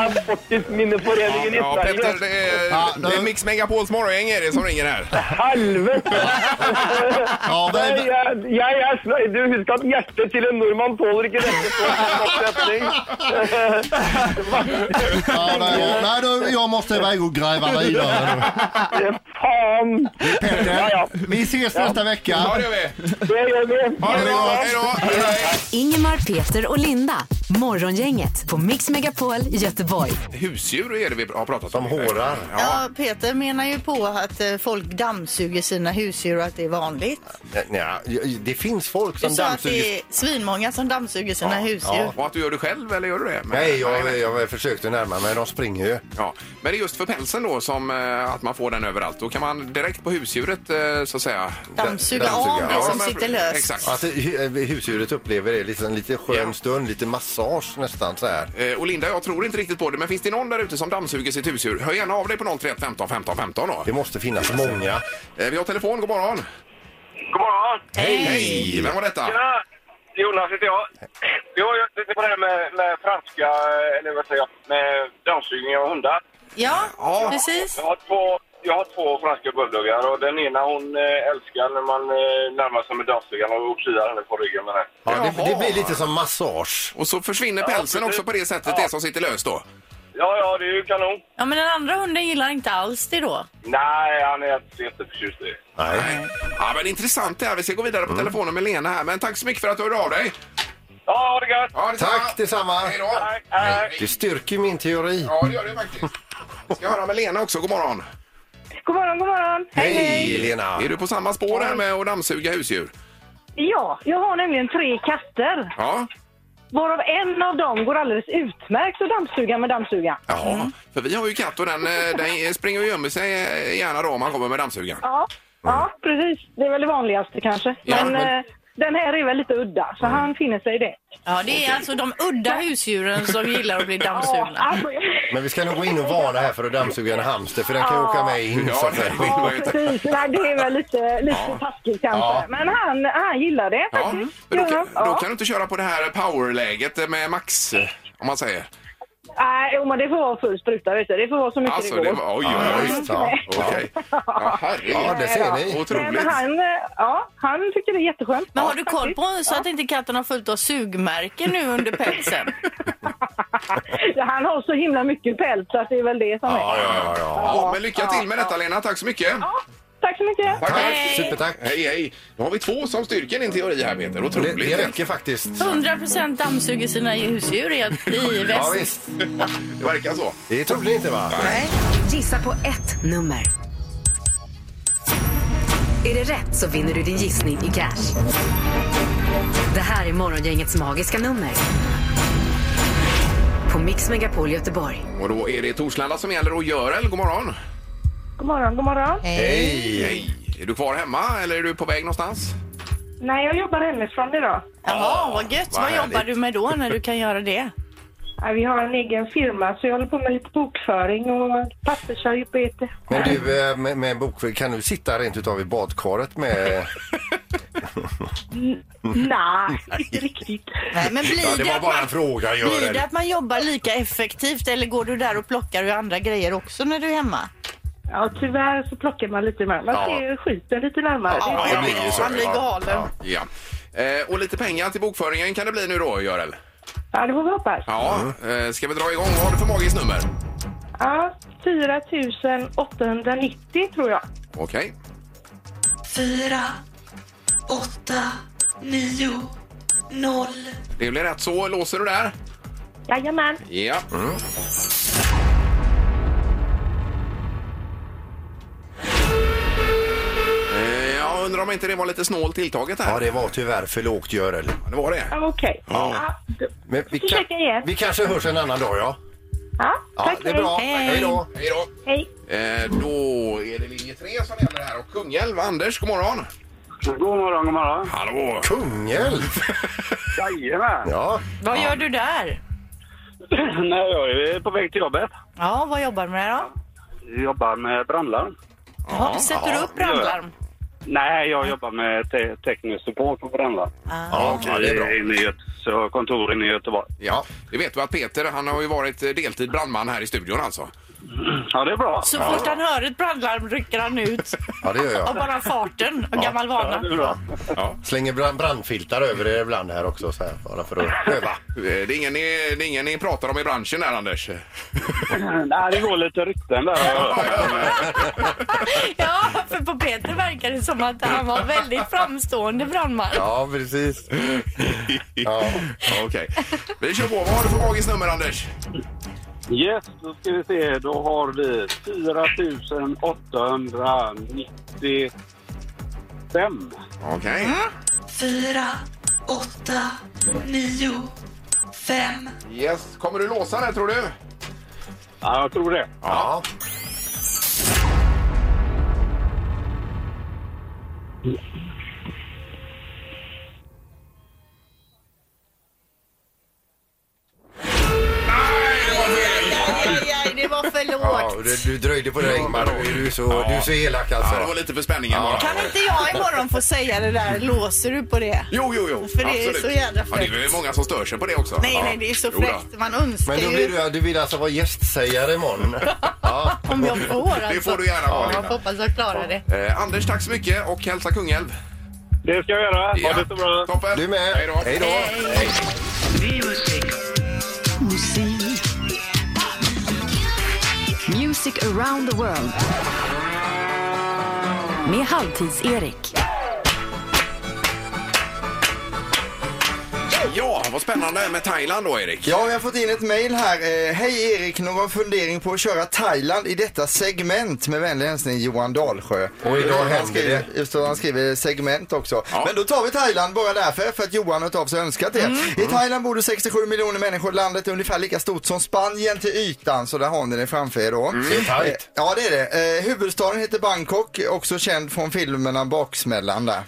Speaker 8: er Fortidsminneforeningen i
Speaker 1: Ja,
Speaker 8: Sverige.
Speaker 1: Petter, det är,
Speaker 2: Ja, då-
Speaker 1: det är Mix Megapols morgongäng är det som ringer här.
Speaker 8: Helvete!
Speaker 2: Ja, det
Speaker 8: Nei,
Speaker 2: är,
Speaker 8: jeg, jeg er sla- Du husker at hjertet til en nordmann tåler ikke dette. så det er en oppretning.
Speaker 2: ja, det är, nej, du, jag måste iväg och gräva vidare.
Speaker 8: Eh, Faen! Ja, ja.
Speaker 2: Vi ses nästa
Speaker 1: Ja,
Speaker 2: vecka.
Speaker 1: det gör vi.
Speaker 8: Det gjør vi.
Speaker 1: Ha det bra. Hej då. Hej, hej.
Speaker 4: Ingemar, Peter och Linda. Morgongänget på Mix Megapol Göteborg.
Speaker 1: Husdjur är det vi har pratat om.
Speaker 9: Som hårar.
Speaker 1: Ja.
Speaker 3: Ja, Peter menar ju på att eh, folk dammsuger sina husdjur och att det är vanligt.
Speaker 9: Ja, det finns folk
Speaker 3: Du
Speaker 9: som
Speaker 3: sa att
Speaker 9: dammsuger.
Speaker 3: det är svinmånga som dammsuger sina husdjur.
Speaker 1: Och att du gör det själv, eller gör du det? Men-
Speaker 9: Nej, jag, jag försökte närma mig. De springer ju.
Speaker 1: Ja, men det är just för pälsen då som eh, att man får den överallt. Då kan man direkt på husdjuret eh, så att säga.
Speaker 3: Dammsuga
Speaker 1: d-
Speaker 3: av
Speaker 1: dammsuga.
Speaker 3: det som
Speaker 1: men-
Speaker 3: sitter löst.
Speaker 1: Exakt.
Speaker 9: Att hu- husdjuret upplever det liksom lite skön
Speaker 1: Ja.
Speaker 9: stund, lite massage nästan så här.
Speaker 1: Eh, Och Linda, jag tror inte riktigt på det, men finns det någon där ute som dammsuger sitt husdjur? Hör gärna av dig på 031 15 15 15 då.
Speaker 9: Det måste finnas många.
Speaker 1: Eh, Vi har telefon, god morgon.
Speaker 8: God morgen.
Speaker 1: Hej! Vem var detta?
Speaker 8: Tjena! Jonas heter jag. Vi har ju lite på det här med, med franska, eller vad säger jag, med dammsugningar och hundar.
Speaker 3: Ja, precis.
Speaker 8: Jag har två, jag har två franska bulldoggar och den ena hon eh, älskar när man eh, närmar sig med dammsugaren och kliar henne på ryggen med den.
Speaker 2: Ja, det,
Speaker 1: Jaha.
Speaker 2: det blir lite som massage.
Speaker 1: Och så försvinner pälsen också på det sättet, det som sitter löst då.
Speaker 8: Ja, ja, det är ju kanon.
Speaker 3: Ja, men den andra hunden gillar inte alls det då.
Speaker 8: Nej, han är inte jätteförtjust i.
Speaker 2: Nej.
Speaker 1: Ja, men intressant det här. Vi ska gå vidare på telefonen med Lena här. Men tack så mycket för att du hörde av dig.
Speaker 8: Ja, ha det gött!
Speaker 1: Ja, detsamma.
Speaker 2: Tack detsamma.
Speaker 1: Hej då.
Speaker 8: Hej, hej.
Speaker 2: Det styrker min teori.
Speaker 1: Ja, det gör det faktiskt. Vi ska höra med Lena också. God morgon.
Speaker 6: God morgon, god morgon.
Speaker 2: Hej Lena!
Speaker 1: Är du på samma spår här med att dammsuga husdjur?
Speaker 6: Ja, jag har nämligen tre katter.
Speaker 1: Ja.
Speaker 6: Varav en av dem går alldeles utmärkt att dammsuga med dammsuga.
Speaker 1: Ja, för vi har ju katt och den, eh, den springer och gömmer sig eh, gärna då om man kommer med dammsugaren.
Speaker 6: Ja,
Speaker 1: Mm.
Speaker 6: ja precis. Det är väl det vanligaste kanske.
Speaker 1: Ja,
Speaker 6: men
Speaker 1: men-
Speaker 6: eh, den här är väl lite udda, så
Speaker 8: Mm.
Speaker 6: han finner sig [laughs] i det.
Speaker 3: Ja, det är alltså de udda husdjuren som gillar att [laughs] bli dammsugna.
Speaker 6: alltså,
Speaker 2: Men vi ska nog gå in och varna här för att dammsuga en hamster för den kan ju åka med in.
Speaker 1: Ja,
Speaker 2: så
Speaker 1: det
Speaker 2: det-
Speaker 1: [laughs] vill
Speaker 6: ja,
Speaker 1: man ju inte.
Speaker 6: precis. Nej, det är väl lite, lite taskigt kanske.
Speaker 2: Ja.
Speaker 6: Men han, han gillar mm, det
Speaker 1: Ja, men
Speaker 6: faktiskt.
Speaker 1: då,
Speaker 6: Ja,
Speaker 1: kan,
Speaker 6: ja.
Speaker 1: då kan du inte köra på det här powerläget med max, eh, om man säger.
Speaker 6: Nej, jo, men det får vara full spruta, vet du. Det får vara så mycket
Speaker 1: Alltså,
Speaker 6: det
Speaker 1: det
Speaker 6: går.
Speaker 1: var... Oj,
Speaker 2: Ja,
Speaker 1: oj, oj.
Speaker 2: visst, ja.
Speaker 1: Okej. Ja,
Speaker 2: ja,
Speaker 1: herregud.
Speaker 2: det ser ni.
Speaker 6: Nej, men
Speaker 1: Otroligt.
Speaker 6: han, eh, ja, han tycker det är jätteskönt.
Speaker 3: Men har
Speaker 6: Ja,
Speaker 3: du koll på så att inte katten har fullt av sugmärken nu under pälsen?
Speaker 6: faktiskt. Han har så himla mycket päls så att det är väl det som
Speaker 2: Ja,
Speaker 6: är.
Speaker 2: ja, ja.
Speaker 1: Ja, men lycka till med detta, Lena. Tack så mycket.
Speaker 6: Ja, tack så mycket.
Speaker 1: Tack, tack.
Speaker 2: ja. Supertack!
Speaker 1: Hej, hej. Nu har vi två som styrker din teori här, Peter.
Speaker 2: Det,
Speaker 1: Otroligt.
Speaker 2: det räcker faktiskt.
Speaker 3: 100% dammsuger sina husdjur helt i
Speaker 2: Ja,
Speaker 3: väst.
Speaker 2: visst.
Speaker 1: Det verkar så.
Speaker 2: Det trodde ni inte va?
Speaker 4: Gissa på ett nummer. Är det rätt så vinner du din gissning i cash. Det här är Morgongängets magiska nummer. På Mix Megapol Göteborg.
Speaker 1: Och då är det Torslanda som gäller och Görel, god morgon.
Speaker 6: God morgon, god morgon.
Speaker 2: Hej!
Speaker 1: Hej. Är du kvar hemma eller är du på väg någonstans?
Speaker 6: Nej, jag jobbar hemifrån idag.
Speaker 3: Jaha, vad gött.
Speaker 1: vad
Speaker 3: Vad jobbar
Speaker 1: härligt.
Speaker 3: du med då när du kan göra det?
Speaker 6: Nej, Vi har en egen firma så jag håller på med lite bokföring och pappersarbete.
Speaker 2: Men du, eh, med, med bok, kan du sitta rent utav i badkaret med...
Speaker 6: Nej, inte riktigt.
Speaker 3: Nej, men blir, det att man,
Speaker 2: fråga,
Speaker 3: blir det att man jobbar lika effektivt eller går du där och plockar ur andra grejer också när du är hemma?
Speaker 6: Ja, tyvärr så plockar man lite mer. Man ser skiten lite närmare.
Speaker 1: Ja, det blir ju så.
Speaker 3: Man blir
Speaker 1: Ja.
Speaker 3: galen.
Speaker 1: Ja. Eh, och lite pengar till bokföringen kan det bli nu då, Görel.
Speaker 6: Ja, det får vi hoppas.
Speaker 1: Ja.
Speaker 2: Mm.
Speaker 1: Eh, ska vi dra igång? Vad har du för magiskt nummer?
Speaker 6: Ja, 4 890 tror jag.
Speaker 1: Okej. Det blir rätt så. Låser du där?
Speaker 6: Jajamän.
Speaker 1: Ja. Eh, Jag undrar om inte det var lite snålt tilltaget här.
Speaker 2: Ja, det var tyvärr för lågt, Görel.
Speaker 1: det var det.
Speaker 6: Ja, Okej.
Speaker 1: Ja.
Speaker 6: Ja,
Speaker 2: Men vi,
Speaker 6: Försöka igen.
Speaker 2: vi kanske hörs en annan dag, ja?
Speaker 6: ja,
Speaker 2: Ja,
Speaker 6: tack
Speaker 2: det är
Speaker 6: för
Speaker 2: bra.
Speaker 6: det.
Speaker 2: Hej då!
Speaker 1: Hej då.
Speaker 6: Hej.
Speaker 1: Eh, då är det linje 3 som gäller här och Kungälv. Anders, god morgon.
Speaker 8: God morgon, god morgon.
Speaker 1: Hallå! [laughs]
Speaker 2: Kungälv!
Speaker 8: Jajamän. [clears throat]
Speaker 2: Ja,
Speaker 3: Vad gör du där?
Speaker 8: Nej, jag är på väg till jobbet.
Speaker 3: Ja, vad jobbar du med då?
Speaker 8: Jobbar med brandlarm.
Speaker 3: Ja, sätter du upp brandlarm?
Speaker 8: Nej, jag jobbar med te- teknisk support på brandlarm.
Speaker 3: Ah,
Speaker 2: ja okej, det är bra.
Speaker 8: I- i Göte- så kontoren i Göteborg.
Speaker 1: Ja, det vet du att Peter, han har ju varit eh, deltid brandman här i studion alltså.
Speaker 8: Ja, det är bra.
Speaker 3: Så fort han hör ett brandlarm rycker han
Speaker 1: [laughs]
Speaker 3: ut
Speaker 2: Ja, det gör
Speaker 3: av
Speaker 2: jag.
Speaker 3: bara farten och gammal vana.
Speaker 8: Det är bra.
Speaker 2: Slänger brand, brandfiltar över det ibland här också, så här, bara för att öva.
Speaker 1: Eh, Det är, ingen ni, det är ingen ni pratar om i branschen där, Anders. [laughs]
Speaker 8: Nej, det går lite rykten där.
Speaker 3: Ja, för på Peter verkar det som att han var väldigt framstående brandman.
Speaker 2: Ja, precis. Ja.
Speaker 1: Ja, Okej. Vi kör på. Vad har du för magiskt nummer, Anders?
Speaker 8: Yes, då ska vi se. Då har vi 4895.
Speaker 1: Okej.
Speaker 3: Mm.
Speaker 1: Yes. Kommer du låsa det, tror du?
Speaker 8: Ja, jag tror det.
Speaker 2: ja.
Speaker 3: Aj, aj, det var för
Speaker 2: ja och
Speaker 3: lågt.
Speaker 2: du, du dröjde på det,
Speaker 1: hemma då.
Speaker 2: Du är så, du är så elak alltså.
Speaker 1: Ja, det var lite för spänningen bara.
Speaker 3: Kan inte jag imorgon få säga det där? Låser du på det?
Speaker 1: Jo, jo, jo.
Speaker 3: För det är
Speaker 1: Absolut.
Speaker 3: så jädra
Speaker 1: Ja, det är ju
Speaker 3: fräckt.
Speaker 1: många som stör sig på det också.
Speaker 3: Nej,
Speaker 1: ja.
Speaker 3: nej, det är så
Speaker 1: Jo då.
Speaker 3: fräckt. Man önskar
Speaker 2: Men då
Speaker 3: ju
Speaker 2: vill du, du vill alltså vara gästsägare imorgon?
Speaker 10: Ja.
Speaker 3: om jag får alltså.
Speaker 1: Det får du gärna vara,
Speaker 3: Ja, jag
Speaker 1: Linda.
Speaker 3: hoppas jag klarar det.
Speaker 1: Eh, Anders, tack så mycket och hälsa Kungälv.
Speaker 8: Det ska jag göra.
Speaker 1: Ja.
Speaker 8: Ha det så bra.
Speaker 1: Toppen.
Speaker 2: Du med.
Speaker 1: Hej då.
Speaker 2: Hej då.
Speaker 1: Hej.
Speaker 4: Music around the world. Med Halvtids-Erik.
Speaker 1: Ja, vad spännande med Thailand då, Erik.
Speaker 5: Ja, vi har fått in ett mejl här. Eh, Hej Erik, någon fundering på att köra Thailand i detta segment? Med vänlig hälsning Johan Dalsjö.
Speaker 2: Och idag
Speaker 5: Han
Speaker 2: händer
Speaker 5: skriver- Just det, han skriver segment också.
Speaker 1: Ja.
Speaker 5: Men då tar vi Thailand bara därför, för att Johan har tagit sig önskat det. I Thailand bor det 67 miljoner människor. Landet är ungefär lika stort som Spanien till ytan, så där har ni det framför er då.
Speaker 2: Det är tajt.
Speaker 5: Eh, Ja, det är det. Eh, huvudstaden heter Bangkok, också känd från filmerna Baksmällan där.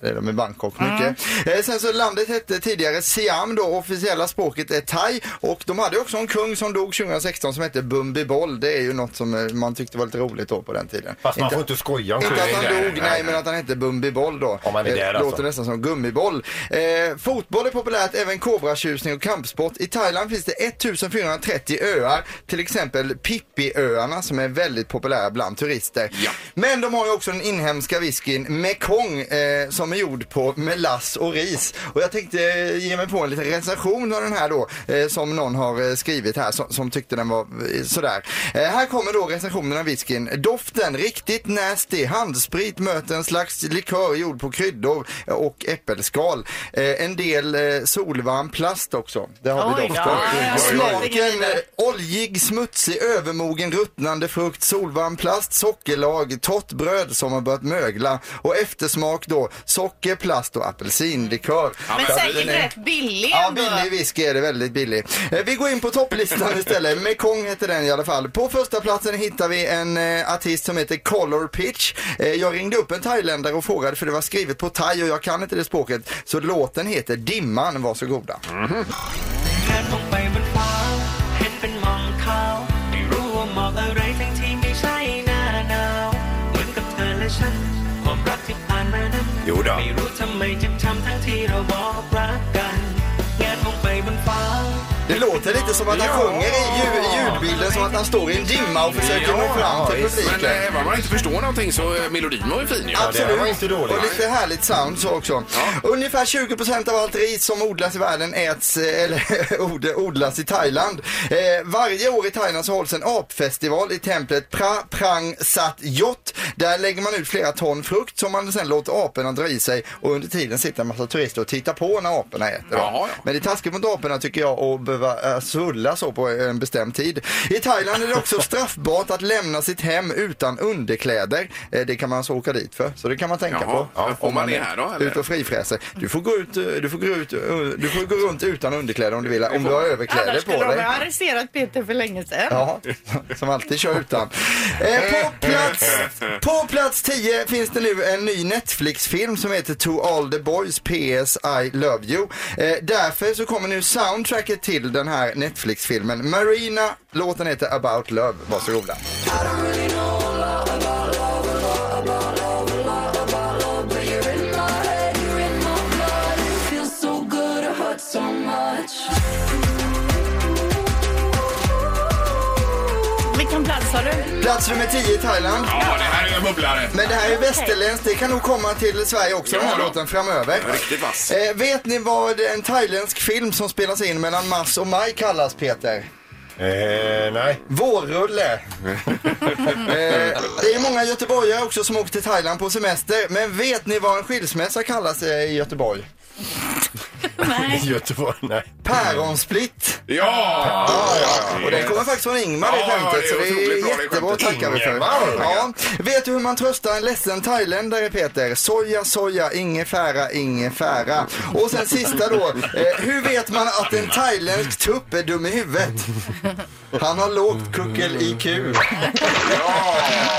Speaker 5: Det är de i Bangkok mycket. Eh, sen så landet hette tidigare Siam då, officiella språket är thai och de hade också en kung som dog 2016 som hette Bumbi Boll. Det är ju något som eh, man tyckte var lite roligt då på den tiden.
Speaker 2: Fast man
Speaker 5: Inte-
Speaker 2: får inte skoja
Speaker 5: inte att
Speaker 2: det.
Speaker 5: han dog, nej, men att han hette Bumbi Boll då.
Speaker 2: Om han är
Speaker 5: Eh,
Speaker 2: där,
Speaker 5: Låter
Speaker 2: alltså.
Speaker 5: nästan som gummiboll. Eh, fotboll är populärt, även kobratjusning och kampsport. I Thailand finns det 1430 öar, till exempel Pippi-öarna som är väldigt populära bland turister.
Speaker 1: Ja.
Speaker 5: Men de har ju också den inhemska whiskyn Mekong eh, som är gjord på melass och ris. Och jag tänkte eh, ge mig på en liten recension av den här då eh, som någon har eh, skrivit här som, som tyckte den var eh, sådär. Eh, här kommer då recensionen av whiskyn. Doften riktigt nasty. Handsprit möter en slags likör gjord på kryddor och äppelskal. Eh, en del eh, solvarm plast också. Det har vi
Speaker 3: Oj
Speaker 5: doft
Speaker 3: då.
Speaker 5: av.
Speaker 3: Ja,
Speaker 1: ja, ja.
Speaker 5: Smaken eh, Oljig, smutsig, övermogen, ruttnande frukt, solvarm plast, sockerlag, torrt bröd som har börjat mögla och eftersmak då socker, plast och apelsinlikör.
Speaker 3: Men
Speaker 5: Så att
Speaker 3: säkert
Speaker 5: den är-
Speaker 3: rätt billig
Speaker 5: Ja,
Speaker 3: ändå.
Speaker 5: billig whisky är det väldigt billig. Eh, Vi går in på topplistan
Speaker 3: [laughs]
Speaker 5: istället. Mekong heter den i alla fall. På första platsen hittar vi en eh, artist som heter Color Pitch. Eh, jag ringde upp en thailändare och frågade för det var skrivet på thai och jag kan inte det språket. Så låten heter Dimman, varsågoda.
Speaker 2: Jo då.
Speaker 11: ไม่รู้ทำไมจึงทำทั้งที่เราบอกรักกันงานคงไปบนฟ้า
Speaker 5: Det låter lite som att han sjunger i ljud, ljudbilden som att han står i en dimma och försöker nå fram till
Speaker 1: Men eh,
Speaker 5: publiken.
Speaker 1: även om man inte förstår någonting så eh, melodin var ju fin ju.
Speaker 2: det var inte dåligt.
Speaker 5: Och lite härligt sound så också. Ungefär 20% av allt ris som odlas i världen äts, eh, eller [laughs] od- odlas i Thailand. Eh, varje år i Thailand så hålls en apfestival i templet Pra Prang Sat Yot. Där lägger man ut flera ton frukt som man sen låter aporna dra i sig och under tiden sitter en massa turister och tittar på när aporna äter. då.
Speaker 1: Ja, ja.
Speaker 5: Men det är taskigt mot aporna tycker jag att behöva eh, svulla så på en bestämd tid. I Thailand är det också straffbart att lämna sitt hem utan underkläder. Eh, Det kan man alltså åka dit för, så det kan man tänka
Speaker 1: Jaha,
Speaker 5: på.
Speaker 1: ja, får man det här då, eller?
Speaker 5: Ut och frifräser. Du får, gå ut, eh, du, får gå ut, eh, du får gå runt utan underkläder om du vill, om du har överkläder
Speaker 3: Annars
Speaker 5: på
Speaker 3: skulle de
Speaker 5: dig.
Speaker 3: ha arresterat Peter för länge sedan.
Speaker 5: Ja, som alltid kör utan. Eh, på, plats, på plats 10 finns det nu en ny Netflix-film som heter To All The Boys PS I Love You. Eh, därför så kommer nu soundtracket till den här Netflix-filmen. Marina, låten heter About Love. Varsågoda.
Speaker 3: Vilken plats har du?
Speaker 5: Plats nummer 10 i Thailand.
Speaker 1: Ja, det här är ju en bubblare.
Speaker 5: Men det här är västerländskt, det kan nog komma till Sverige också den här
Speaker 1: Ja.
Speaker 5: låten framöver.
Speaker 1: Riktigt vass.
Speaker 5: Eh, vet ni vad en thailändsk film som spelas in mellan mars och maj kallas Peter?
Speaker 2: Eh, nej.
Speaker 5: Vårrulle.
Speaker 1: [laughs]
Speaker 5: eh, det är många göteborgare också som åker till Thailand på semester. Men vet ni vad en skilsmässa kallas eh, i Göteborg?
Speaker 3: Nej.
Speaker 2: Göteborg, nej.
Speaker 5: Päronsplitt.
Speaker 1: Ja!
Speaker 5: Och det kommer faktiskt från Ingmar det
Speaker 1: Ja,
Speaker 5: skämtet.
Speaker 1: det är
Speaker 5: Så det
Speaker 1: otroligt
Speaker 5: är
Speaker 1: bra, det
Speaker 5: jättebra
Speaker 1: skämtet.
Speaker 5: tackar vi för.
Speaker 2: Ingemar.
Speaker 5: Ja. Vet du hur man tröstar en ledsen thailändare Peter? Soja, soja, ingefära, ingefära. Och sen sista då. Eh, hur vet man att en thailändsk tupp är dum i huvudet? Han har lågt kuckel-IQ.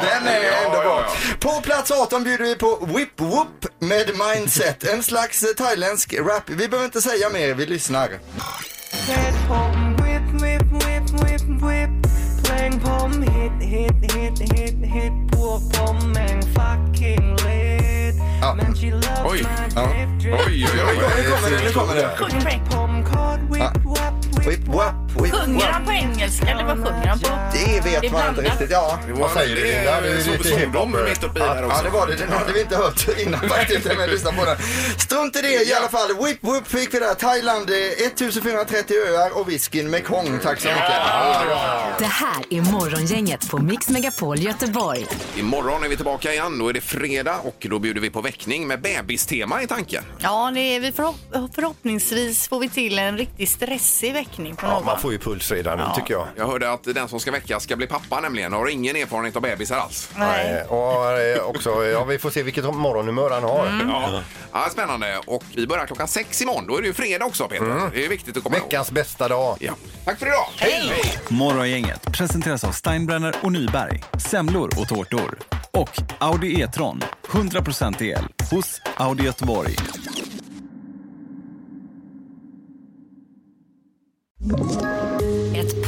Speaker 5: Den är ändå bra. På plats 18 bjuder vi på Whip Whoop med Mindset. En slags eh, thailändsk rap. Vi behöver inte säga mer, vi lyssnar.
Speaker 11: เทศผมวิบวิบวิบวิบวิบเพลงผมฮิตฮิ hit, hit, hit, hit på pommen fucking lit.
Speaker 5: Ja.
Speaker 11: Men she loves
Speaker 1: Oj.
Speaker 11: my
Speaker 5: Ja.
Speaker 11: drip, drip.
Speaker 1: Oj, oj, oj.
Speaker 5: Nu kommer det, nu kommer det.
Speaker 11: Pomcard,
Speaker 5: Ja.
Speaker 11: whip, wap, whip.
Speaker 5: Whip, wap, whip,
Speaker 3: Sjunger
Speaker 5: wap.
Speaker 3: han på engelska eller vad sjunger han på?
Speaker 5: Det
Speaker 3: Det är
Speaker 5: vet man inte
Speaker 3: blandat.
Speaker 5: riktigt. Ja.
Speaker 1: Det
Speaker 2: Vad säger du, Linda? Det är
Speaker 1: så-
Speaker 2: lite
Speaker 1: så-
Speaker 2: hiphop.
Speaker 1: de mitt uppe i här också.
Speaker 5: Ja, det var det. Den hade vi inte hört innan faktiskt. Men lyssna på den. Strunt i det i alla fall. Whip, whip fick vi där. Thailand, eh, 1430 öar och whiskyn Mekong. Tack så mycket.
Speaker 4: Det här är Morgongänget på Mix Megapol Göteborg.
Speaker 1: Imorgon är vi tillbaka igen. Då är det fredag och då bjuder vi på väckning med bebistema i tanken.
Speaker 3: Ja, det är, vi förhopp- förhoppningsvis får vi till en riktigt stressig väckning på
Speaker 2: Ja,
Speaker 3: någon.
Speaker 2: man får ju puls redan nu tycker jag.
Speaker 1: Jag hörde att den som ska väckas ska bli pappa nämligen. Har ingen erfarenhet av bebisar alls.
Speaker 3: Nej.
Speaker 2: Eh, Och eh, också, ja, vi får se vilket morgonhumör han har.
Speaker 1: Ja. ja, spännande. Och vi börjar klockan sex imorgon. Då är det ju fredag också Peter. Det är viktigt att komma ihåg.
Speaker 2: Veckans bästa dag.
Speaker 1: Ja. Tack för idag! Hej!
Speaker 12: Morgongänget presenteras av Steinbrenner och Nyberg, semlor och tårtor. Och Audi E-tron, 100% el hos Audi Göteborg.
Speaker 13: Ett